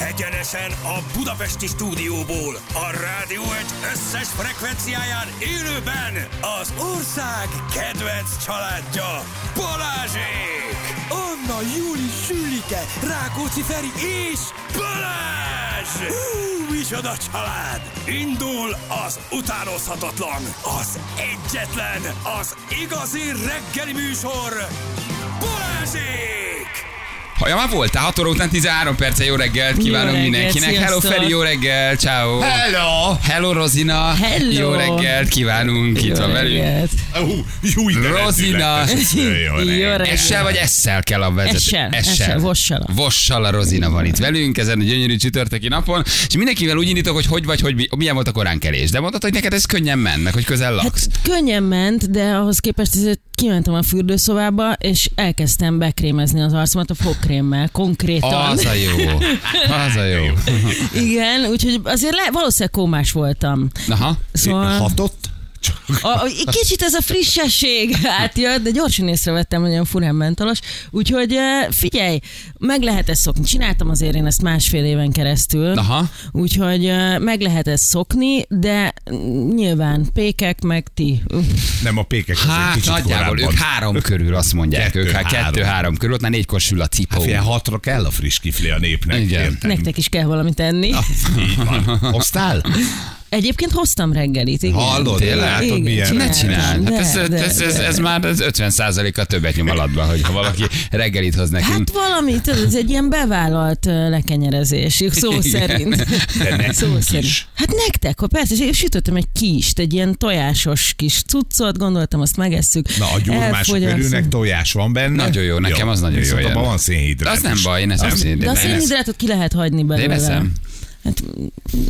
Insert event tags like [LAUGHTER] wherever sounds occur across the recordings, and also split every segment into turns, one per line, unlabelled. Egyenesen a Budapesti stúdióból, a Rádió egy összes frekvenciáján élőben az ország kedvenc családja Balázsék!
Anna, Júli, Sülike, Rákóczi Feri és
Balázs!
Hú, micsoda család!
Indul az utánozhatatlan, az egyetlen, az igazi reggeli műsor Balázsék!
Haja már voltál, 6 óra után 13 perce, jó reggelt kívánunk
Jó reggelt,
mindenkinek. Hello
sziasztok.
Feri, jó reggel, ciao.
Hello!
Hello Rozina,
Hello.
jó reggelt kívánunk, itt van velünk.
reggelt.
Hú, jó ide
Rozina.
Jó
Jó
reggelt.
reggelt.
Essel vagy essel kell a vezető?
Essel, essel, vossal a.
Vossal a Rozina van itt velünk, ezen a gyönyörű csütörtöki napon, és mindenkivel úgy indítok, hogy hogy vagy, hogy mi- milyen volt a koránkelés. De mondtad, hogy neked ez könnyen mennek, hogy közel laksz.
Hát Könnyen ment, de ahhoz képest azért kimentem a fürdőszobába, és elkezdtem bekrémezni az arcomat a fogkrémmel, konkrétan. [LAUGHS]
Az a jó. Az a jó.
Igen, úgyhogy azért le, valószínűleg kómás voltam.
Aha.
Szóval
Hatott?
a, a, kicsit ez a frissesség [LAUGHS] átjött, de gyorsan észrevettem, hogy olyan furán mentalos. Úgyhogy eh, figyelj, meg lehet ezt szokni. Csináltam azért én ezt másfél éven keresztül.
Aha.
Úgyhogy eh, meg lehet ezt szokni, de mm, nyilván pékek, meg
[LAUGHS]
ti.
Nem a pékek, azért
Hát
kicsit
nagyjából
korábban.
ők három körül, azt mondják
Kettő,
ők. Hát
három.
kettő-három körül, ott már négykor sül a cipó.
Hát fél hatra kell a friss kifli a népnek.
Igen.
érted?
Nektek is kell valamit enni.
Így van. Hoztál?
Egyébként hoztam reggelit, igen.
Hallod,
tényleg?
látod
Igen,
milyen?
Ne
csináltam.
csináld. Hát
De,
ez,
de,
ez, ez, ez már az 50 a többet nyom alatba, hogy ha valaki reggelit hoz nekünk.
Hát valami, tudod, ez egy ilyen bevállalt ö, lekenyerezés, szó
Igen.
szerint.
De nekünk
Szó
is.
szerint. Hát nektek, ha persze, és én sütöttem egy kist, egy ilyen tojásos kis cuccot, gondoltam, azt megesszük.
Na, a gyurmások
Elfogyasztom.
körülnek tojás van benne.
Nagyon jó, nekem az nagyon jó
Viszont
jön.
abban van szénhidrát
Az nem
is.
baj, én ezt nem
De a szénhidrátot ki lehet hagyni belőle.
Én eszem.
Hát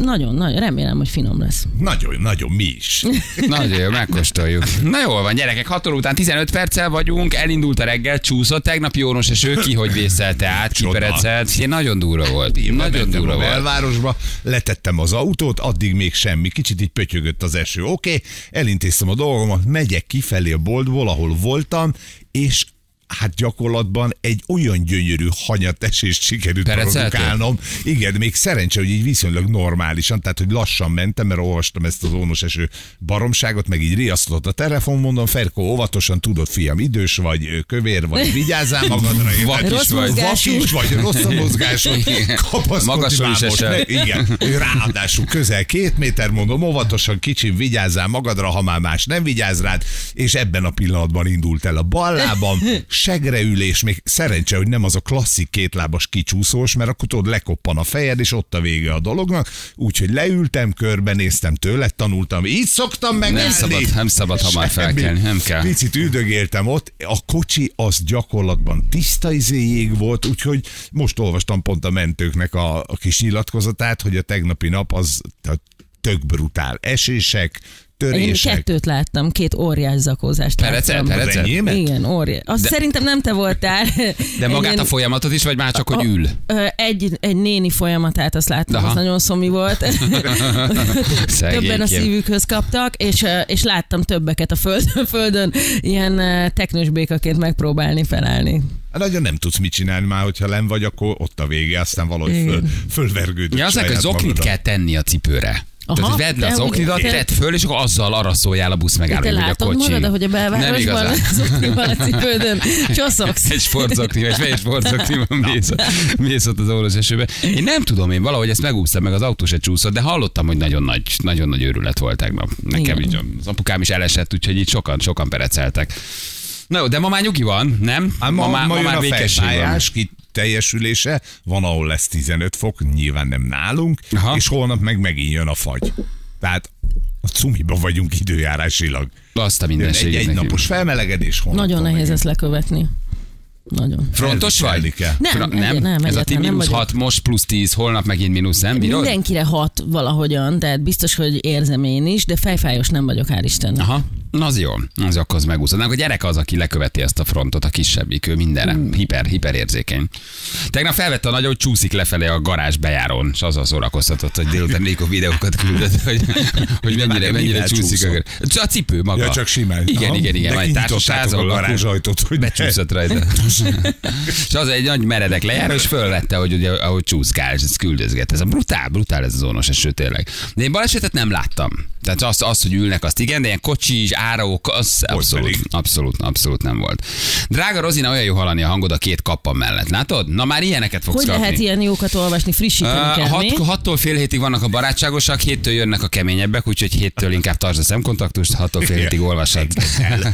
nagyon, nagyon, remélem, hogy finom lesz.
Nagyon, nagyon, mi is.
Hát-
Nagyon jó, megkóstoljuk. Na jól van, gyerekek, 6 óra után 15 perccel vagyunk, elindult a reggel, csúszott tegnap Jónos, és ő ki, hogy vészelte át,
Csoda.
kiperecelt. Én nagyon durva volt. Nagyon
Bementem
durva
a
volt.
belvárosba, letettem az autót, addig még semmi, kicsit így pötyögött az eső. Oké, okay, elintéztem a dolgomat, megyek kifelé a boltból, ahol voltam, és hát gyakorlatban egy olyan gyönyörű hanyatesést sikerült
Pereceltél?
produkálnom. Igen, még szerencse, hogy így viszonylag normálisan, tehát hogy lassan mentem, mert olvastam ezt az ónos eső baromságot, meg így riasztott a telefon, mondom, Ferko, óvatosan tudod, fiam, idős vagy, ö, kövér vagy, vigyázzál
[LAUGHS]
magadra. érted?
Vak is Rossz vagy.
mozgású.
Vak is vagy, rossz a mozgású, kapaszkodni
Magasról is
bámos,
esel.
ne- [LAUGHS] Igen, Ő ráadásul közel két méter, mondom, óvatosan, kicsi, vigyázzál magadra, ha már más nem vigyáz rád, és ebben a pillanatban indult el a bal
[LAUGHS]
lábam, segreülés, még szerencse, hogy nem az a klasszik kétlábas kicsúszós, mert akkor tudod, lekoppan a fejed, és ott a vége a dolognak, úgyhogy leültem, körbenéztem tőle, tanultam, így szoktam megállni.
Nem szabad, nem szabad hamar
Semmi.
felkelni, nem kell.
Picit üldögéltem ott, a kocsi az gyakorlatban tiszta izé jég volt, úgyhogy most olvastam pont a mentőknek a, a kis nyilatkozatát, hogy a tegnapi nap az t- tök brutál esések,
Én
törések.
kettőt láttam, két óriás zakózást
Perecelt,
láttam.
perecelt.
Enyémet?
Igen, óriás. Azt de, szerintem nem te voltál.
[LAUGHS] De magát a
Egy-
folyamatot is, vagy már csak, hogy
a- [LAUGHS]
ül?
Ö, Egy, egy néni folyamatát azt láttam,
Aha.
az nagyon szomi
[LAUGHS]
volt. Többen a
Szegényként.
szívükhöz kaptak, és, ö, és láttam többeket a földön, [LAUGHS] földön ilyen ö, teknős békaként megpróbálni felállni.
Hát Nagyon nem tudsz mit csinálni már, hogyha len vagy, akkor ott a vége, aztán valahogy föl, fölvergődött.
Ja, az
saját
hogy zoknit
magadra.
kell tenni a cipőre.
Aha.
Tehát, hogy vedd le az
Te úgy-
oknidat,
te-
tedd föl, és akkor azzal arra szóljál a busz
Te
megállóba, hogy a
látod
kocsi.
magad, hogy a
Nem
belvárosban
igazán.
az oknival a cipődön
[LAUGHS]
csoszogsz.
Egy sportzokni, és egy sportzokni
[LAUGHS]
van, mész, mész ott az órás esőbe. Én nem tudom, én valahogy ezt megúsztam, meg az autó se csúszott, de hallottam, hogy nagyon nagy, nagyon nagy őrület volt tegnap. Nekem
Igen.
így az apukám is elesett, úgyhogy így sokan, sokan pereceltek. Na jó, de ma már nyugi van, nem?
Hát ma, ma, ma, jön
már
a
békesség van.
fejfájás, ki teljesülése, van ahol lesz 15 fok, nyilván nem nálunk,
Aha.
Aha. és holnap meg megint jön a fagy. Tehát a cumiba vagyunk időjárásilag.
Azt a
Jön egy
mindenséget
egy
neki.
napos felmelegedés holnap.
Nagyon nehéz ezt lekövetni. Nagyon.
Frontos vagy?
Kell.
Nem,
Fra-
egyet- nem,
Ez a ti
egyáltalán nem
mínusz
vagyok.
6, most plusz 10, holnap megint mínusz, nem bírod?
Mindenkire hat valahogyan, tehát biztos, hogy érzem én is, de fejfájós nem vagyok, hál' Istennek.
Aha. Na az jó, az akkor az megúszhatnánk. A gyerek az, aki leköveti ezt a frontot, a kisebbik, ő mindenre. Hmm. Hiper, hiperérzékeny. Tegnap felvette a nagy, hogy csúszik lefelé a garázs bejárón, és azzal szórakoztatott, hogy
[LAUGHS]
délután Léko videókat küldött, hogy, hogy mennyire, mennyire
mivel
csúszik.
csúszol?
A, a cipő maga.
Ja, csak simán.
Igen,
Aha.
igen, igen.
De
Majd
kinyitottátok
társasházal
a garázsajtót, hogy ne. [LAUGHS]
becsúszott rajta. és az egy nagy meredek lejáró, és fölvette, hogy ugye, ahogy csúszkál, és ez küldözget. Ez a brutál, brutál ez az ónos eső tényleg. De én balesetet nem láttam. Tehát azt, azt, hogy ülnek, azt igen, de ilyen kocsi és áraók, az abszolút,
pedig.
abszolút, abszolút nem volt. Drága Rozina, olyan jó hallani a hangod a két kappa mellett, látod? Na már ilyeneket fogsz
Hogy
kapni.
lehet ilyen jókat olvasni, frissíteni kell, mi?
Uh, hattól fél hétig vannak a barátságosak, héttől jönnek a keményebbek, úgyhogy héttől inkább tartsd a szemkontaktust, hattól fél hétig olvasod.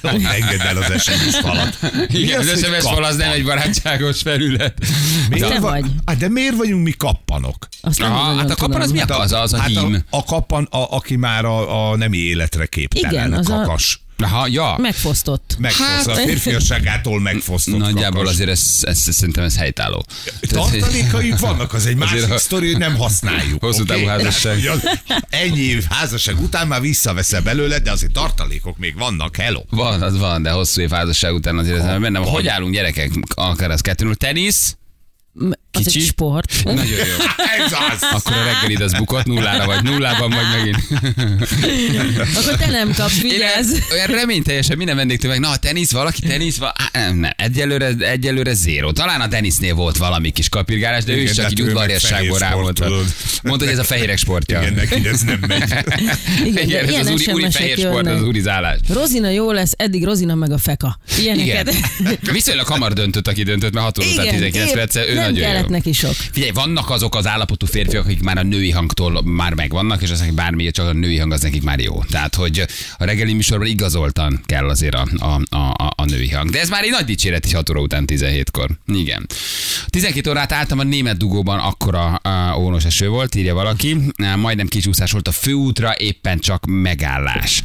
Ott engedd el az SMS falat. [LAUGHS]
Igen,
az,
az,
hogy
SMS fal az nem egy barátságos felület.
Miért
Te
va-
vagy.
Hát de miért vagyunk mi kappanok?
Azt nem
Aha,
nagyon
hát a kapan
tudom.
az mi a, az, az a
hát
hím?
A, a kappan, a, aki már a, a nemi életre képtelen,
Igen,
a
az a-
kakas.
Aha, ja.
Megfosztott.
Megfoszt,
Hát-
a
[LAUGHS]
férfiasságától megfosztott
Nagyjából
kakas.
azért ez, ez, ez, szerintem ez helytálló. Tehát, hogy-
Tartalékaink vannak, az egy másik
Azért, ha-
sztori, hogy nem használjuk.
Hosszú
oké?
távú házasság.
Hát, ugyan, Ennyi év házasság után már visszaveszel belőle, de azért tartalékok még vannak, hello.
[LAUGHS] Van, az van, de hosszú év házasság után azért ez nem bennem. Hogy állunk gyerekek? Akár az kettőnül. Tenisz?
Az egy
Kicsi.
sport.
[LAUGHS] Nagyon jó.
Ez az!
Akkor a reggelid az bukott nullára, vagy nullában, vagy megint.
[LAUGHS] Akkor te nem kapsz, vigyázz.
[LAUGHS] Én olyan reményteljesen minden vendégtől meg, na a tenisz, valaki tenisz, va- Á, nem, nem, egyelőre, egyelőre zéro. Talán a tenisznél volt valami kis kapirgálás, de ő
Igen,
is
de
csak
hát
így
ő meg
udvariasságból
fehér sport,
rámondta.
tudod.
Mondta, hogy ez a fehérek sportja.
Igen, neki ez nem megy.
Hát,
Igen, de
Igen, ez
ilyen
az úri, úri
SMS-ek
fehér sport,
jönnek.
az úrizálás.
Rozina jó lesz, eddig Rozina meg a feka.
Igen.
[LAUGHS] Ilyeneket.
Viszonylag hamar döntött, aki döntött, mert 6 óra után 19
épp
perccel, ő
nem
nagyon
kellett
jó.
neki sok.
Figyelj, vannak azok az állapotú férfiak, akik már a női hangtól már megvannak, és aztán bármi, csak a női hang az nekik már jó. Tehát, hogy a reggeli műsorban igazoltan kell azért a, a, a, a, a női hang. De ez már egy nagy dicséret is 6 óra után 17-kor. Igen. 12 órát álltam a német dugóban, akkora a, ónos eső volt, írja valaki. Á, Majdnem kicsúszás volt a főútra, éppen csak megállás.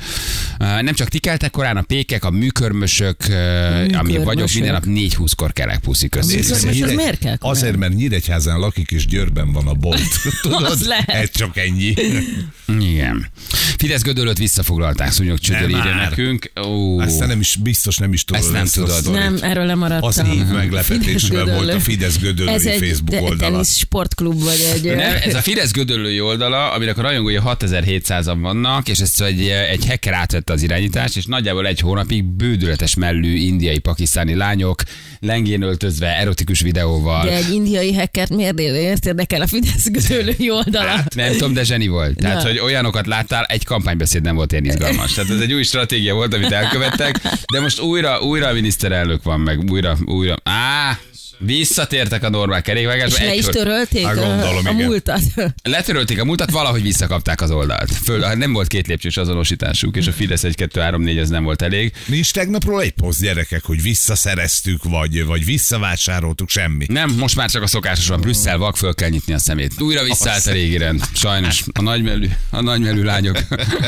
Á, Nem csak ti keltek korán, a pékek, a műkörmösök, műkörmösök. ami vagyok, minden nap 4-20-kor kelek puszi közé.
műkörmös- Viszont
Nyíregy-
az miért kell komolyan?
Azért, mert Nyíregyházán lakik, és Győrben van a bolt. Tudod?
[LAUGHS] Az lehet.
Ez csak ennyi.
Igen. Fidesz gödölöt visszafoglalták, szúnyog csütör
Nem
írja
már.
nekünk. Ó,
Aztán nem is, biztos nem is tudod.
Ezt nem
a
tudod.
sztorit.
Nem, erről lemaradtam.
Az év meglepetésben
Gödöllő.
volt a Fidesz Gödöllői
Ez egy
Facebook
te-
oldala.
tenisz sportklub vagy egy...
nem, ez a Fidesz gödöllői oldala, aminek a rajongói 6700-an vannak, és ezt egy, egy hacker átvette az irányítást, és nagyjából egy hónapig bődületes mellű indiai pakisztáni lányok, lengén öltözve, erotikus videóval.
De egy indiai hackert miért ér- miért érdekel a Fidesz
Hát,
közölői oldala?
Nem tudom, de zseni volt. Tehát,
Na.
hogy olyanokat láttál, egy kampánybeszéd nem volt ilyen izgalmas. Tehát ez egy új stratégia volt, amit elkövettek, de most újra, újra a miniszterelnök van, meg újra, újra. Á, visszatértek a normál
És
kerékvágásba.
le
Egy
is
kör-
törölték
Hát
a,
gondolom,
a
igen.
múltat.
Letörölték a múltat, valahogy visszakapták az oldalt. Föl, hát nem volt két lépcsős azonosításuk, és a Fidesz 1 2 3 4 ez nem volt elég.
Nincs tegnapról egy poszt, gyerekek, hogy visszaszereztük, vagy, vagy visszavásároltuk, semmi.
Nem, most már csak a szokásos van. Brüsszel vak, föl kell nyitni a szemét. Újra visszaállt a régi rend. Sajnos. A nagymelű, a nagymelű lányok,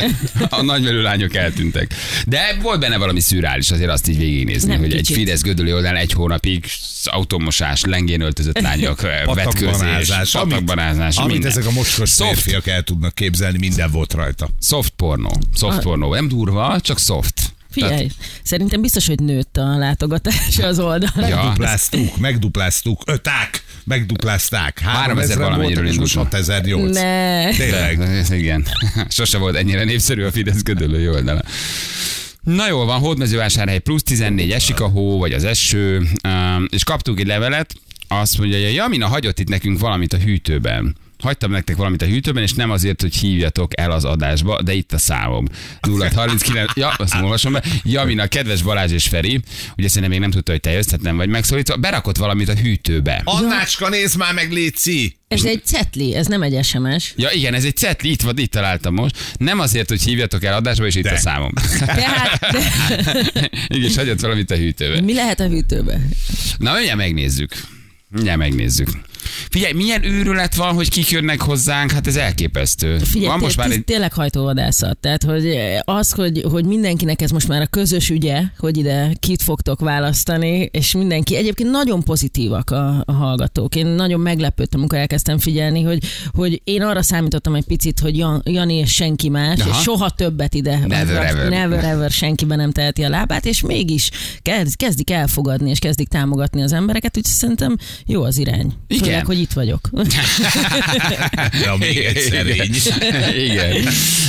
[LAUGHS]
a nagymelű lányok eltűntek. De volt benne valami szürális, azért azt így végignézni,
Nem
hogy egy
kicsit.
Fidesz gödölő oldalán egy hónapig automosás, lengén öltözött
[LAUGHS]
lányok, vetkőzés,
Patakbanázás, amit-
patakbanázás,
Amit
minden.
ezek a mocskos
Soft.
férfiak el tudnak képzelni, minden volt rajta.
Soft pornó. Soft pornó. Nem durva, csak soft.
Figyelj, szerintem biztos, hogy nőtt a látogatása az oldalra.
Ja.
Megdupláztuk, megdupláztuk, öták, megduplázták.
3000
3000
valamennyiről
voltak, és most
indultunk.
6008.
Ne.
Tényleg.
Ez igen. Sose volt ennyire népszerű a Fidesz gödölő oldala. Na jól van, hódmezővásárhely plusz 14, esik a hó, vagy az eső, Ám, és kaptuk egy levelet, azt mondja, hogy Jamina hagyott itt nekünk valamit a hűtőben. Hagytam nektek valamit a hűtőben, és nem azért, hogy hívjatok el az adásba, de itt a számom. 039, ja, azt nem olvasom be. Jamina, kedves Balázs és Feri, ugye szerintem még nem tudta, hogy te jössz, tehát nem vagy megszólítva, berakott valamit a hűtőbe.
Annácska, nézd már meg, Léci!
Ez egy cetli, ez nem egy SMS.
Ja igen, ez egy cetli, itt van, itt találtam most. Nem azért, hogy hívjatok el adásba, és itt
De.
a számom.
[LAUGHS]
Tehát
igen, és hagyott valamit a hűtőbe.
mi lehet a hűtőbe?
Na, mindjárt megnézzük. Mindjárt megnézzük. Figyelj, milyen őrület van, hogy kik jönnek hozzánk, hát ez elképesztő.
Figyelj,
van most már egy...
tényleg hajtóvadászat. Tehát, hogy az, hogy, hogy mindenkinek ez most már a közös ügye, hogy ide kit fogtok választani, és mindenki. Egyébként nagyon pozitívak a, a hallgatók. Én nagyon meglepődtem, amikor elkezdtem figyelni, hogy, hogy én arra számítottam egy picit, hogy Jan, Jani és senki más,
Aha.
és soha többet ide.
Never ever.
never ever senkibe nem teheti a lábát, és mégis kezd, kezdik elfogadni, és kezdik támogatni az embereket, úgyhogy szerintem jó az irány.
Igen.
Főleg, hogy itt vagyok.
[LAUGHS]
Ja, még egyszer így.
igen.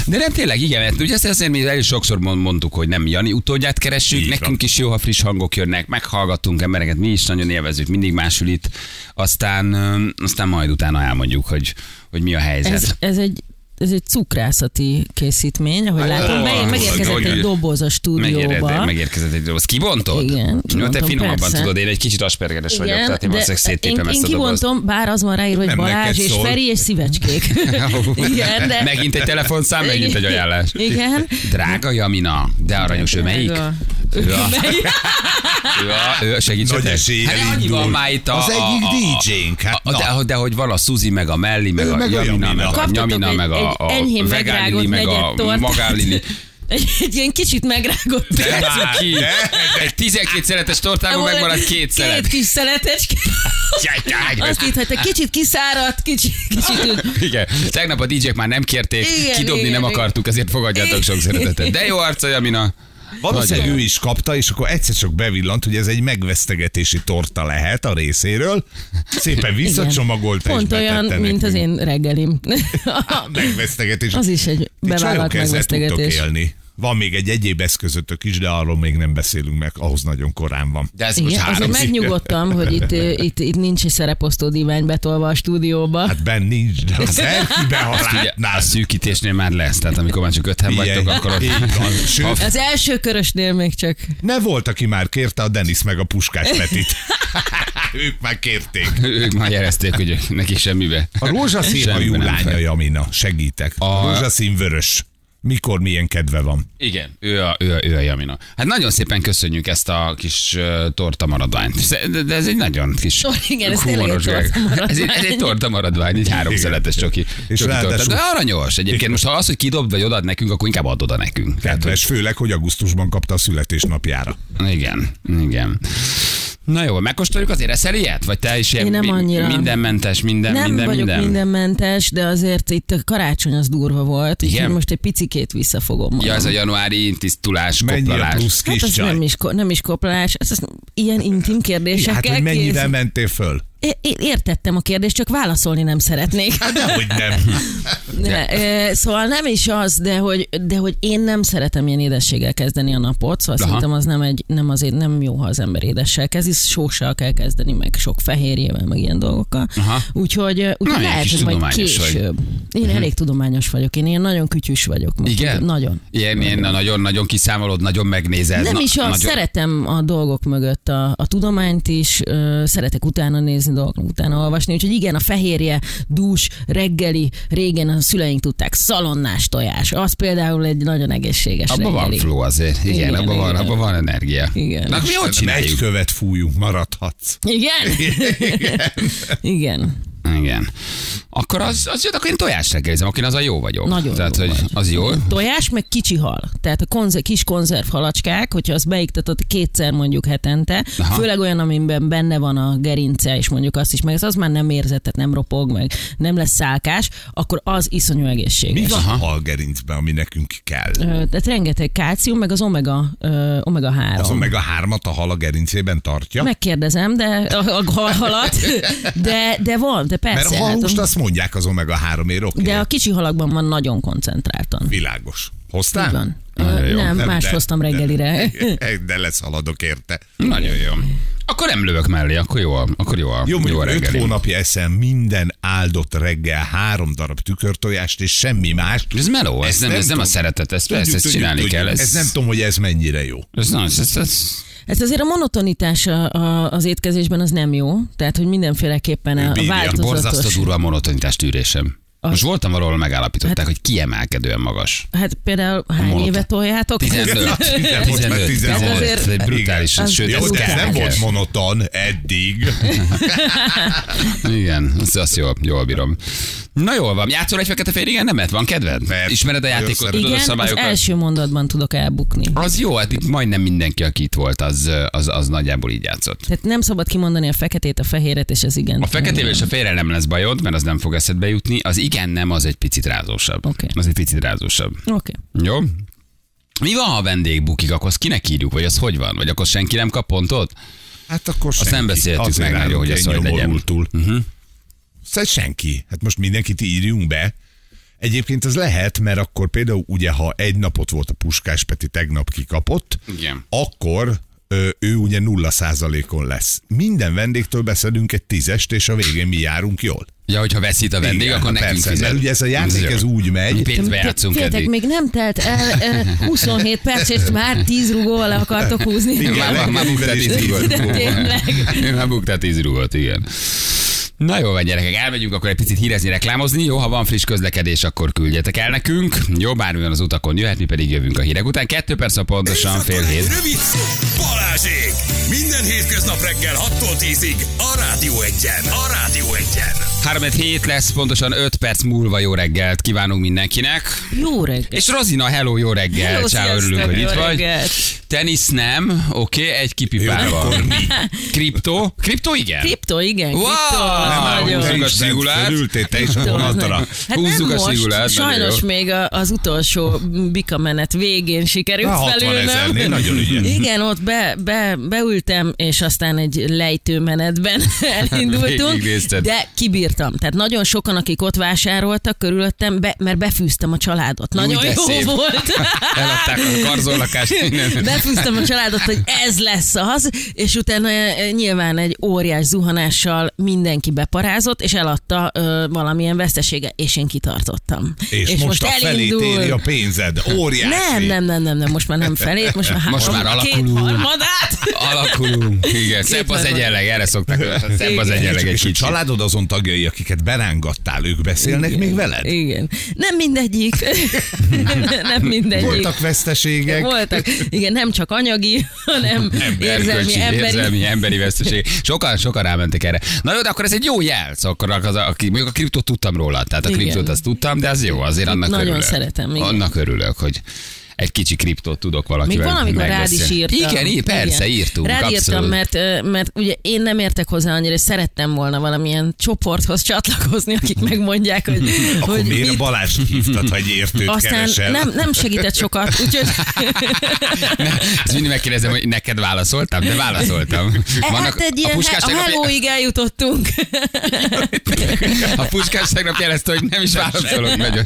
De nem tényleg, igen, mert ugye ezt azért mi el is sokszor mond- mondtuk, hogy nem Jani utódját keressük,
Így van.
nekünk is jó, ha friss hangok jönnek, meghallgatunk embereket, mi is nagyon élvezünk, mindig másul itt, aztán, öm, aztán majd utána elmondjuk, hogy, hogy mi a helyzet.
Ez, ez egy ez egy cukrászati készítmény, ahogy látom, meg, megérkezett egy doboz a
Megérkezett,
stúdióba.
megérkezett egy doboz. Kibontod?
Igen,
Jó, te
kibontom,
finomabban
persze.
tudod, én egy kicsit aspergeres vagyok, tehát én valószínűleg
én,
széttépem ezt
én
a dobozt.
kivontom, bár az van ráírva, hogy
Nem neked
Balázs és
szól.
Feri és
[LAUGHS]
szívecskék. Igen, de...
Megint egy telefonszám, megint egy ajánlás.
Igen.
Drága Jamina, de aranyos ő melyik?
Drága.
Ő [LAUGHS] a,
Melyik?
ő a, ő a segítsetek.
Nagy eséllyel
hát annyi
indul.
van már itt a,
Az
a-
egyik
a- a-
DJ-nk, hát
a,
na.
de, hogy- de hogy van a Suzi, meg a Melli, meg,
Ő
a
meg a
Jamina,
Jamina.
meg a
Kaptatok
Nyamina,
egy-
meg a,
egy
a
enyhén
Vegán Lili,
megrágott
meg a
negyed tortát.
Magán
[LAUGHS]
Lili.
Egy, egy ilyen kicsit megrágott.
De már, de, Egy 12 szeletes tortában megmaradt két szelet.
Két kis
[LAUGHS]
szeletecske. Azt itt, hogy te kicsit kiszáradt, kicsit, kicsit úgy
Igen, tegnap a DJ-k már nem kérték,
Igen,
kidobni
igen,
nem
igen.
akartuk, ezért fogadjátok sok szeretetet. De jó arca, Jamina.
Valószínűleg
Nagyon.
ő is kapta, és akkor egyszer csak bevillant, hogy ez egy megvesztegetési torta lehet a részéről. Szépen visszacsomagolta
Pont
és
olyan,
betette
mint az
nekünk.
én
[LAUGHS]
reggelim.
Megvesztegetés.
az is egy
Ti csajok
bevállalt
ezzel tudtok
megvesztegetés.
élni. Van még egy egyéb eszközötök is, de arról még nem beszélünk meg, ahhoz nagyon korán van.
De ez most
Igen, azért
három
megnyugodtam, hogy itt, ö,
[LAUGHS]
itt, itt nincs egy szereposztó divány betolva a stúdióba. Hát,
Hát benn nincs, de az elkibe, ha
Ugye, a
látnád.
szűkítésnél már lesz, tehát amikor már csak öten
Figyelj,
vagytok, akkor ott...
így van. Sőt,
az első körösnél még csak.
ne volt, aki már kérte a Denis meg a Puskás Petit. [LAUGHS] ők már kérték.
Ők már jelezték, hogy ők- nekik semmibe.
A rózsaszín
Semmibe
hajú
nem fel.
lánya, Jamina, segítek. A
A-
rózsaszín vörös. Mikor milyen kedve van?
Igen, ő a, ő, a, ő a Jamina. Hát nagyon szépen köszönjük ezt a kis uh, torta maradványt. Sze- De, de ez egy nagyon kis
Sor- igen, ez tényleg egy
humoros
torta
gag.
maradvány.
ez, egy, ez egy torta maradvány, egy három
Igen.
szeletes csoki.
És
csoki torta.
ráadásul-
De aranyos. Egyébként most ha az, hogy kidobd vagy odad nekünk, akkor inkább add oda nekünk. Tehát, hogy-
Kedves, főleg, hogy augusztusban kapta a születésnapjára.
Igen, igen. Na jó, megkóstoljuk azért eszel ilyet? Vagy te is ilyen
Én nem
mi-
annyira.
mindenmentes, minden,
Nem
minden,
vagyok
minden?
mindenmentes, de azért itt a karácsony az durva volt,
Igen?
úgyhogy most egy picikét visszafogom.
Ja, ez a
magam.
januári tisztulás,
Mennyi a
koplalás.
plusz
Hát az
kiscsaj?
nem is, ko- nem is koplás, ez, ez ilyen intim
Ja,
kérdésekkel
hát, hogy
kész.
mennyivel mentél föl?
É- é- Értettem a kérdést, csak válaszolni nem szeretnék.
Hát dehogy nem.
Ne, e, szóval nem is az, de hogy, de hogy én nem szeretem ilyen édességgel kezdeni a napot, szóval
Aha.
Aha. szerintem az nem, egy, nem azért nem jó, ha az ember édessel kezdi, sóssal kell kezdeni, meg sok fehérjével, meg ilyen dolgokkal.
Aha.
Úgyhogy, ö,
Na,
úgyhogy
ilyen
lehet,
kis
hogy majd
tudományos vagy. Mhm.
később. Én elég tudományos vagyok, én ilyen nagyon kütyűs vagyok. meg
Igen?
tudom- Nagyon.
Ilyen, ilyen nagyon-nagyon kiszámolod, nagyon megnézed.
Nem
na-
is az,
nagyon...
szeretem a dolgok mögött a, a tudományt is, ö, szeretek utána nézni dolgoknak, utána olvasni, úgyhogy igen, a fehérje, dús, reggeli, régen a szüleink tudták, szalonnás tojás, az például egy nagyon egészséges
Abban van
reggeli.
flow azért. Igen, igen
Igen,
abban van,
igen.
abba van energia.
Igen.
Na, akkor mi hogy
Egy
csináljuk?
követ fújunk, maradhatsz.
Igen? [LAUGHS] igen.
Igen. Akkor az, az jött, akkor én tojás reggelizem, akkor én az a jó vagyok.
Nagyon
Tehát,
jó
hogy
vagy.
az jó.
Tojás, meg kicsi hal. Tehát a konze, kis konzerv halacskák, hogyha azt beiktatod kétszer mondjuk hetente,
Aha.
Aha. főleg olyan, amiben benne van a gerince, és mondjuk azt is meg, az, az már nem érzett, tehát nem ropog, meg nem lesz szálkás, akkor az iszonyú egészséges.
Mi van
Aha.
a halgerincben, ami nekünk kell?
Ö, Tehát rengeteg kálcium, meg az omega, ö, omega 3.
Az omega 3-at a hal a gerincében tartja?
Megkérdezem, de a, a hal- halat, de, de van, de
Mert
persze.
ha
hát,
most azt mondják az omega 3 ér oké.
de a kicsi halakban van nagyon koncentráltan.
Világos.
Így
Hoztál?
van.
Nagyon
Ö,
jó.
Nem,
Nem,
más
de-
hoztam reggelire.
De, [LAUGHS] de lesz haladok érte.
Nagyon jó. Akkor nem lövök mellé, akkor jó, a- akkor jó, a-
Jó,
jó a
mondjuk 5
reggeli.
hónapja eszem minden áldott reggel három darab tükörtojást és semmi mást.
Ez meló, ez,
Ezt
nem,
nem
ez nem a
tudom.
szeretet, ezt persze, ezt
Tudjuk,
csinálni
tudjuk,
kell.
tudjuk. Ez nem tudom, hogy ez mennyire jó.
ez, nem, ez, ez, ez,
Ez azért a monotonitás a, a, az étkezésben az nem jó, tehát hogy mindenféleképpen a
Bírja.
változatos.
Borzasztó durva a monotonitás tűrésem.
Az-
Most voltam, ahol megállapították, hogy kiemelkedően magas.
Hát például hány
Molotov.
évet toljátok?
[LAUGHS]
15. 15, 15, 15,
azért-
ez egy Hát brutális,
az-
sőt,
Jó,
ez
de ez nem
kell.
volt monoton eddig.
Igen, azt, azt jól, jól bírom. Na jól van, játszol egy fekete fél, igen, nemet, van kedved?
Persze.
Ismered a játékot,
Nagyon
tudod a
Igen, az
szabályokat?
első mondatban tudok elbukni.
Az jó, hát itt majdnem mindenki, aki itt volt, az, az, az nagyjából így játszott.
Tehát nem szabad kimondani a feketét, a fehéret, és az igen.
A feketével és a félre nem lesz bajod, mert az nem fog eszedbe jutni. Az igen nem, az egy picit rázósabb.
Oké.
Az egy picit rázósabb.
Oké. Okay.
Jó? Mi van, ha a vendég bukik, akkor azt kinek írjuk, vagy az hogy van? Vagy akkor senki nem kap pontot?
Hát akkor senki.
nem beszéltük
Azért
meg nagyon,
állunk
hogy ez
ilyen
hogy legyen. Mhm.
nyomorultul. Szóval senki. Hát most mindenkit írjunk be. Egyébként ez lehet, mert akkor például ugye, ha egy napot volt a Puskás Peti, tegnap kikapott,
Igen.
akkor ö, ő ugye nulla százalékon lesz. Minden vendégtől beszedünk egy tízest, és a végén mi járunk jól.
Ja, hogyha veszít a vendég,
Igen, hát
akkor nekünk
persze,
fizet.
mert ugye ez a játék,
jó.
ez úgy megy.
Pénzbe játszunk
Féltek,
eddig.
még nem telt el
[LAUGHS]
ö, 27 perc, és már 10 rugóval le akartok húzni.
Igen,
Már, már
legközelebb
buktál
is
10
így
rugót.
volt. Tényleg.
Már buktál 10 rugót, igen. Na jó van, gyerekek, elmegyünk akkor egy picit hírezni, reklámozni. Jó, ha van friss közlekedés, akkor küldjetek el nekünk. Jó, bármilyen az utakon jöhet, mi pedig jövünk a hírek után. Kettő perc a pontosan fél
Éjszakai
hét.
Rövid szó Balázsék! Minden hétköznap reggel 6-tól 10-ig a Rádió Egyen. A Rádió Egyen.
3 hét lesz, pontosan 5 perc múlva jó reggelt kívánunk mindenkinek.
Jó reggel.
És Rozina, hello, jó reggel.
Hello,
Ciao,
sziasztok,
örülünk, hogy
jó
itt vagy.
reggelt.
Tenisz nem, oké, okay, egy kipipálva. Kripto? Kripto, igen.
Kripto, igen.
Wow!
Kripto, az
Nem állunk
nagyon.
el.
Te
a
is
szigulát.
fölültél, te is a
Kripto, az
vonatra.
nagyon. Hát
Húzzuk
nem
a
most,
szigulát, nagyon
sajnos
jó.
még a, az utolsó bikamenet végén sikerült
Na, 60
felülnöm.
ezernél nagyon ügyes.
Igen, ott be, be, beültem, és aztán egy lejtőmenetben [LAUGHS] elindultunk,
Végignézted.
de kibírtam. Tehát nagyon sokan, akik ott vásároltak körülöttem, be, mert befűztem a családot. Nagyon
de
jó
szép.
volt.
Eladták a
[LAUGHS]
karzólakást, mindent.
Befűztem a családot, hogy ez lesz az, és utána eh, nyilván egy óriás zuhanással mindenki beparázott, és eladta ö, valamilyen vesztesége, és én kitartottam.
És, és most, a felét éri a pénzed. Óriási.
nem, nem, nem, nem, nem, most már nem felét, most már,
Most
három-
már
két
alakulunk.
harmadát.
Alakulunk. Igen, szebb az
harmad.
egyenleg, erre szokták. Szebb az
Igen.
egyenleg egy
És a
kicsit.
családod azon tagjai, akiket berángattál, ők beszélnek még veled?
Igen. Nem
[LAUGHS]
mindegyik. nem mindegyik.
Voltak veszteségek.
Voltak. Igen, nem csak anyagi, hanem érzelmi,
Erkölcsi,
emberi.
érzelmi, emberi veszteség. Sokan, sokan rámentek erre. Na jó, de akkor ez egy jó jel. Szóval akkor az, aki, mondjuk a kriptót tudtam róla, tehát a
Igen.
kriptót azt tudtam, de az jó, azért annak
Nagyon
örülök.
szeretem, igen.
Annak örülök, hogy egy kicsi kriptót tudok
Még
valakivel
van, amikor rád
megbeszélni.
is írtam.
Igen, így, persze, írtunk.
Rád
abszolút.
írtam,
[LAUGHS]
mert, ö, mert ugye én nem értek hozzá annyira, és szerettem volna valamilyen csoporthoz csatlakozni, akik megmondják,
[LAUGHS]
hogy,
Akkor
hogy
miért a
mit.
Balázs hívtad, hogy értőt
Aztán
keresel?
nem, nem segített sokat,
[LAUGHS]
úgyhogy
Ezt mindig megkérdezem, hogy neked válaszoltam, de válaszoltam.
hát egy ilyen, a, a
tegnap-
hellóig eljutottunk.
A puskás tegnap jelezte, hogy nem is válaszolok nagyon.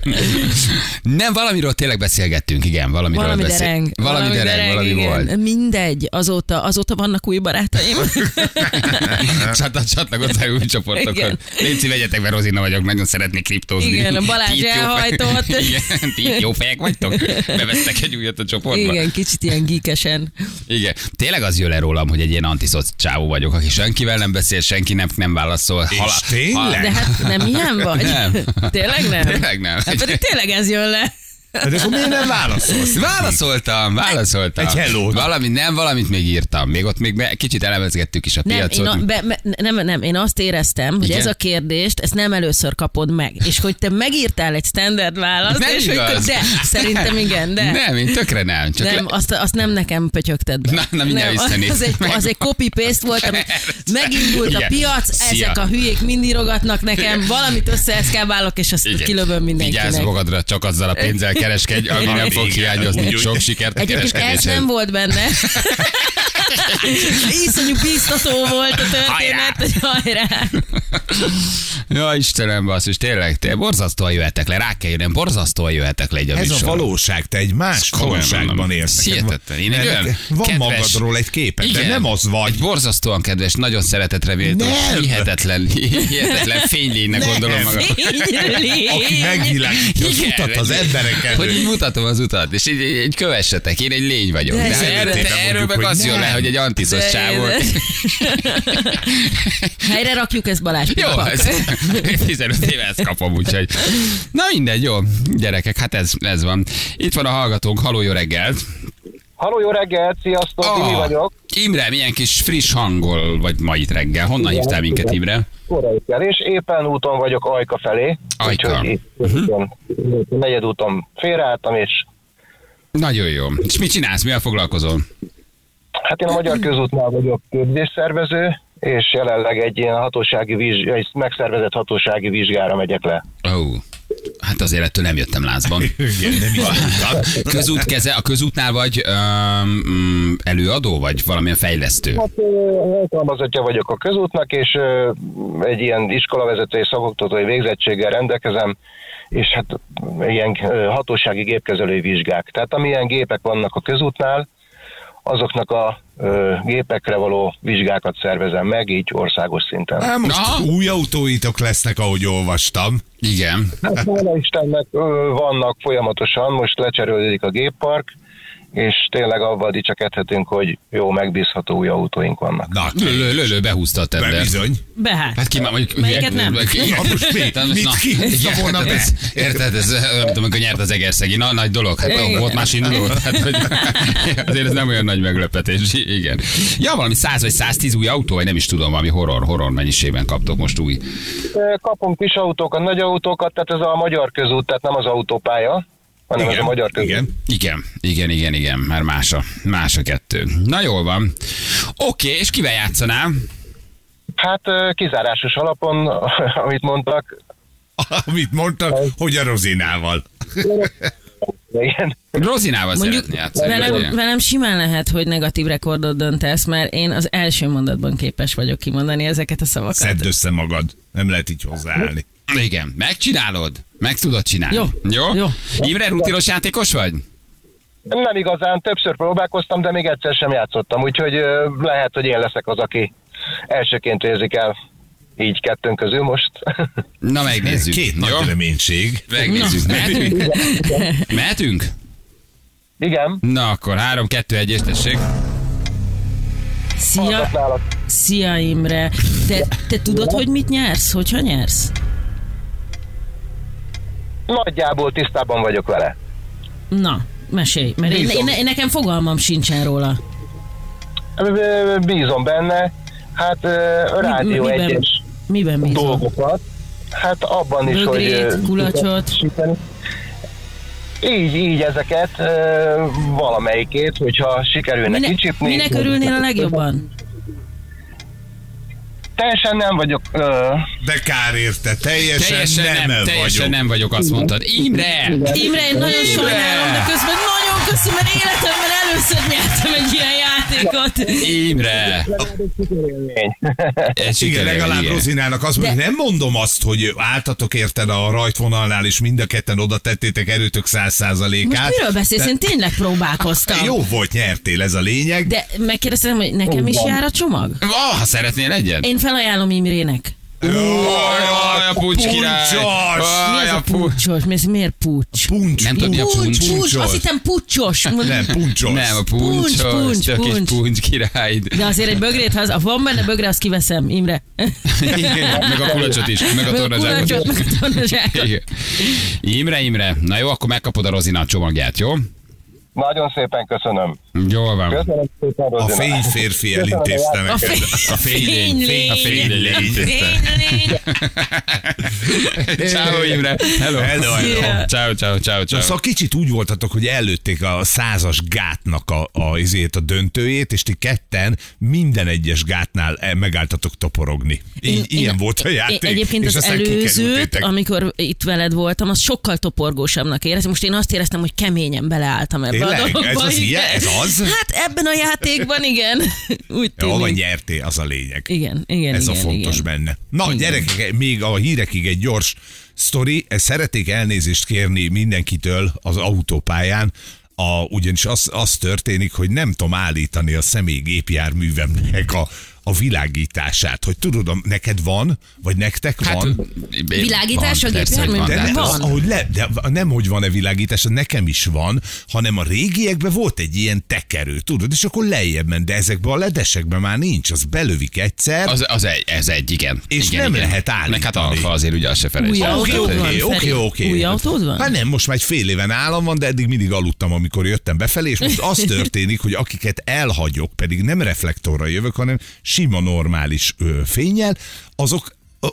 Nem, valamiről tényleg beszélgettünk, igen, valamiről
Valami
beszél...
dereng.
Valami, dereng, valami
igen. [LAUGHS]
volt.
Mindegy, azóta, azóta vannak új barátaim.
Csata, csatlakoztál új csoportokon.
Igen.
Léci, vegyetek be, Rozina vagyok, nagyon szeretnék kriptózni.
Igen, a Balázs
Ti itt jó fej-
elhajtott.
[LAUGHS] Igen, ti itt jó fejek vagytok? Bevesztek egy újat a csoportba?
Igen, kicsit ilyen gíkesen.
Igen. Tényleg az jön le rólam, hogy egy ilyen antiszoc csávó vagyok, aki senkivel nem beszél, senki nem, nem válaszol. Hala-
tényleg?
halál-
De hát nem ilyen vagy?
Nem.
Tényleg nem?
Tényleg nem.
Hát pedig tényleg ez jön le.
De Hát akkor miért nem válaszolsz?
Válaszoltam, válaszoltam.
Egy hello-t.
Valami, nem, valamit még írtam. Még ott még be, kicsit elemezgettük is a
Nem,
piacot.
én a, be, me, nem, nem, én azt éreztem, hogy
Igen?
ez a kérdést, ezt nem először kapod meg. És hogy te megírtál egy standard választ,
Nem
és
igaz.
hogy te, de, szerintem igen, de.
Nem, én tökre nem. Csak
nem,
le...
azt, azt nem nekem pötyögted be.
Na, na, mindjárt
nem,
visszanéz.
az, egy, az egy copy-paste volt,
[LAUGHS]
amit megindult a
Igen.
piac,
Szia.
ezek a hülyék mind írogatnak nekem, valamit összeeszkábálok, és azt
Igen.
kilövöm mindenkinek.
Vigyázz magadra, csak azzal a pénzzel kereskedj, ami nem fog
Igen,
hiányozni.
úgy, úgy.
Sok sikert a
Egyébként ez
kereskedéshez.
nem volt
[LAUGHS]
benne. Iszonyú biztató volt a történet, hogy hajrá.
Ja, Istenem, basszus, tényleg, te borzasztóan jöhetek le, rá kell jönnöm, borzasztóan jöhetek le egy a
Ez a
műsorra.
valóság, te egy más
Komolyan
valóságban
mondom.
élsz. Neked
Hihetetlen. Én egy olyan
Van
kedves-
magadról egy képed, de nem az
Egy
vagy.
borzasztóan kedves, nagyon szeretetre véltó,
Nem.
hihetetlen, hihetetlen fénylénynek gondolom magam.
Aki megvilágítja az
Igen,
utat az
egy-
emberek
Hogy így
elő.
mutatom az utat, és így, így, így kövessetek, én egy lény vagyok. De,
De
de
én-
erről,
Tényleg
te, erről
mondjuk,
meg
hogy
az jön le,
nem.
hogy egy antiszos
De
csávó.
én- Helyre rakjuk ezt más
[LAUGHS] Jó,
pipak.
ez, 15 éve ezt kapom, úgyhogy. Na mindegy, jó, gyerekek, hát ez, ez van. Itt van a hallgatónk, haló, jó reggelt.
Halló, jó reggelt, sziasztok,
Ah.
oh. mi vagyok.
Imre, milyen kis friss hangol vagy ma itt reggel. Honnan hívtál minket, Imre?
Korai kell, és éppen úton vagyok Ajka felé.
Ajka.
Úgyhogy itt uh-huh. negyed úton félreálltam, és
Nagyon jó. És mit csinálsz, mivel foglalkozol?
hát én a Magyar Közútnál vagyok képzésszervező, és jelenleg egy ilyen hatósági vizs, egy megszervezett hatósági vizsgára megyek le.
Ó, oh, hát azért ettől nem jöttem lázban.
Igen, nem is tudtam.
Közút keze, a közútnál vagy um, előadó, vagy valamilyen fejlesztő?
Hát ö, alkalmazottja vagyok a közútnak, és ö, egy ilyen iskolavezetői szakoktatói végzettséggel rendelkezem, és hát ilyen ö, hatósági gépkezelői vizsgák. Tehát amilyen gépek vannak a közútnál, azoknak a ö, gépekre való vizsgákat szervezem meg, így országos szinten.
Á, most
Na?
új autóitok lesznek, ahogy olvastam.
Igen.
Hát hála Istennek ö, vannak folyamatosan, most lecserélődik a géppark, és tényleg avval dicsekedhetünk, hogy jó, megbízható új autóink vannak.
Na,
Lölő, lölő, behúzta a
be
tender.
bizony.
Behát.
Hát ki már mondjuk...
Melyiket
[LAUGHS]
nem?
Na most mi?
Tehát,
Mit kihúzta
igen,
volna
hát
be?
ez- Érted, ez, nem tudom, amikor nyert az Egerszegi, na, nagy dolog, hát
Igen.
volt más induló, tehát, hogy [LAUGHS] azért ez nem olyan nagy meglepetés, igen. Ja, valami 100 vagy 110 új autó, vagy nem is tudom, valami horror, horror mennyiségben kaptok most új.
Ö, Kapunk kis autókat, nagy autókat, tehát ez a magyar közút, tehát nem az autópálya, hanem ez a magyar közút.
igen.
Igen, igen, igen, igen, már más a, más a kettő. Na jól van. Oké, és kivel játszanál?
Hát ö, kizárásos alapon, [LAUGHS] amit mondtak,
Amit mondta, hogy a rozinával.
igen.
Rozinával
Mondjuk
szeretnél játszani. ugye?
velem, velem simán lehet, hogy negatív rekordot döntesz, mert én az első mondatban képes vagyok kimondani ezeket a szavakat.
Szedd össze magad. Nem lehet így hozzáállni.
Igen, megcsinálod, meg tudod csinálni.
Jó.
Jó?
Jó.
Imre, rutinos játékos vagy?
Nem igazán, többször próbálkoztam, de még egyszer sem játszottam, úgyhogy ö, lehet, hogy én leszek az, aki elsőként érzik el így kettőnk közül most. [LAUGHS]
Na, megnézzük.
Két
Jó?
nagy reménység.
Megnézzük. Mehetünk? Mehetünk?
Igen,
Na akkor 3, 2, 1, és tessék.
Szia,
hallgat nálad.
szia Imre. Te, te tudod, hogy mit nyersz? Hogyha nyersz?
Nagyjából tisztában vagyok vele.
Na, mesélj, mert én, én, én, nekem fogalmam sincsen róla.
Ö, Bízom benne, hát ö, rádió
miben-
egyes
Miben bízol?
dolgokat, hát abban is, hogy... ö,
Bögrét, kulacsot.
Sikerül. Így, így ezeket, ö, valamelyikét, hogyha sikerülne
Minek,
kicsipni.
minek örülnél a legjobban?
Teljesen nem vagyok ö,
De kár érte, teljesen,
Teljesen nem, teljesen
vagyok.
nem vagyok, azt mondtad. Imre!
Imre, én nagyon sajnálom, de közben nagyon köszönöm, mert életemben először nyertem egy ilyen játékot.
Imre!
élmény.
Egy
Igen,
sikerrel,
legalább
igen.
Rozinának azt mondja, hogy nem mondom azt, hogy álltatok érted a rajtvonalnál, és mind a ketten oda tettétek erőtök száz
Most
százalékát.
miről beszélsz? Én tényleg próbálkoztam.
Jó volt, nyertél, ez a lényeg.
De megkérdeztem, hogy nekem is jár a csomag?
Ah, ha szeretnél egyet?
Én felajánlom Imrének.
Jaj, jaj, a puncs király!
Puncsos!
Mi
Jaj,
az
a
a
puncs!
pucsos? Mi ez, miért pucs?
Puncs,
Nem tudom, mi a puncs.
Pucs, azt hittem pucsos.
Nem, puncsos.
Nem, a
Puncs,
puncs,
puncs,
csak egy
puncs.
puncs király.
De azért egy bögrét, ha az, ha van benne bögre, azt kiveszem, Imre.
[LAUGHS] Igen, meg a kulacsot is, meg a
kulacsot,
tornazsákot.
meg a tornazsákot.
Igen. Imre, Imre, na jó, akkor megkapod a Rozina csomagját, jó?
[LAUGHS] Nagyon szépen köszönöm.
Jól van.
Köszönöm szépen,
A
Rozina.
fény férfi elintézte
A,
neked.
fény,
A fénylény. A fénylény.
Fénylény.
Ciao Imre. Hello.
Hello, hello.
Szia.
Ciao, ciao, ciao,
Na,
ciao.
szóval kicsit úgy voltatok, hogy előtték a százas gátnak a, a, izét, a döntőjét, és ti ketten minden egyes gátnál eh, megálltatok toporogni. Így,
Én-
ilyen
én-
volt a játék.
Én egyébként
és
az
aztán
előzőt,
kikerültétek.
amikor itt veled voltam, az sokkal toporgósabbnak éreztem. Most én azt éreztem, hogy keményen beleálltam ebbe a
Tényleg?
dologba.
Ez az
igen.
ilyen? Ez az?
Hát ebben a játékban igen.
[LAUGHS]
Úgy
Jó, vagy
tűnik.
nyertél, az a lényeg.
Igen, igen,
Ez
igen,
a fontos
igen.
benne. Na, gyerekek, még a hírekig egy gyors sztori. E, Szeretnék elnézést kérni mindenkitől az autópályán, a, ugyanis az, az történik, hogy nem tudom állítani a személygépjárművemnek a, a világítását, hogy tudod, neked van, vagy nektek
Hát,
van.
Világítás a
persze, hogy
gépjárműben?
van,
De,
de
ne,
hát
az,
az-
ahogy le, de nem, hogy van-e világítás, nekem is van, hanem a régiekben volt egy ilyen tekerő, tudod, és akkor lejjebb ment, de ezekben a ledesekben már nincs, az belövik egyszer.
az, az egy, ez egy, igen.
És
igen,
nem
igen.
lehet állítani.
Meg hát alfa azért ugye azt se felejtsd.
Új
el.
Oké,
autód van,
oké,
Feri?
oké, oké.
Új autód van?
Hát nem, most már egy fél éven állam van, de eddig mindig aludtam, amikor jöttem befelé, és most
[LAUGHS]
az történik, hogy akiket elhagyok, pedig nem reflektorra jövök, hanem sima normális ö, fényjel, azok ö,